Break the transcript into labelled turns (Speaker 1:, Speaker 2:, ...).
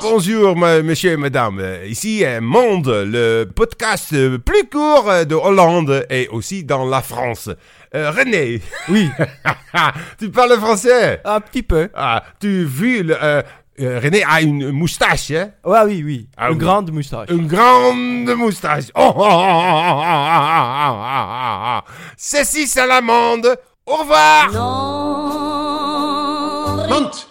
Speaker 1: Bonjour, ma- monsieur et madame. Euh, Ici, euh, Monde, le podcast euh, plus court euh, de Hollande et aussi dans la France. Euh, René. Oui. tu parles français.
Speaker 2: Un petit peu.
Speaker 1: Ah, tu vu le, euh, euh, René a une moustache, hein?
Speaker 2: Ouais, oui, oui.
Speaker 1: Ah oui.
Speaker 2: Une grande moustache.
Speaker 1: Une grande moustache. Oh, oh, oh, oh, oh, oh, oh, oh, oh. Ceci, c'est l'amende. Au revoir.
Speaker 3: Non,
Speaker 4: Mante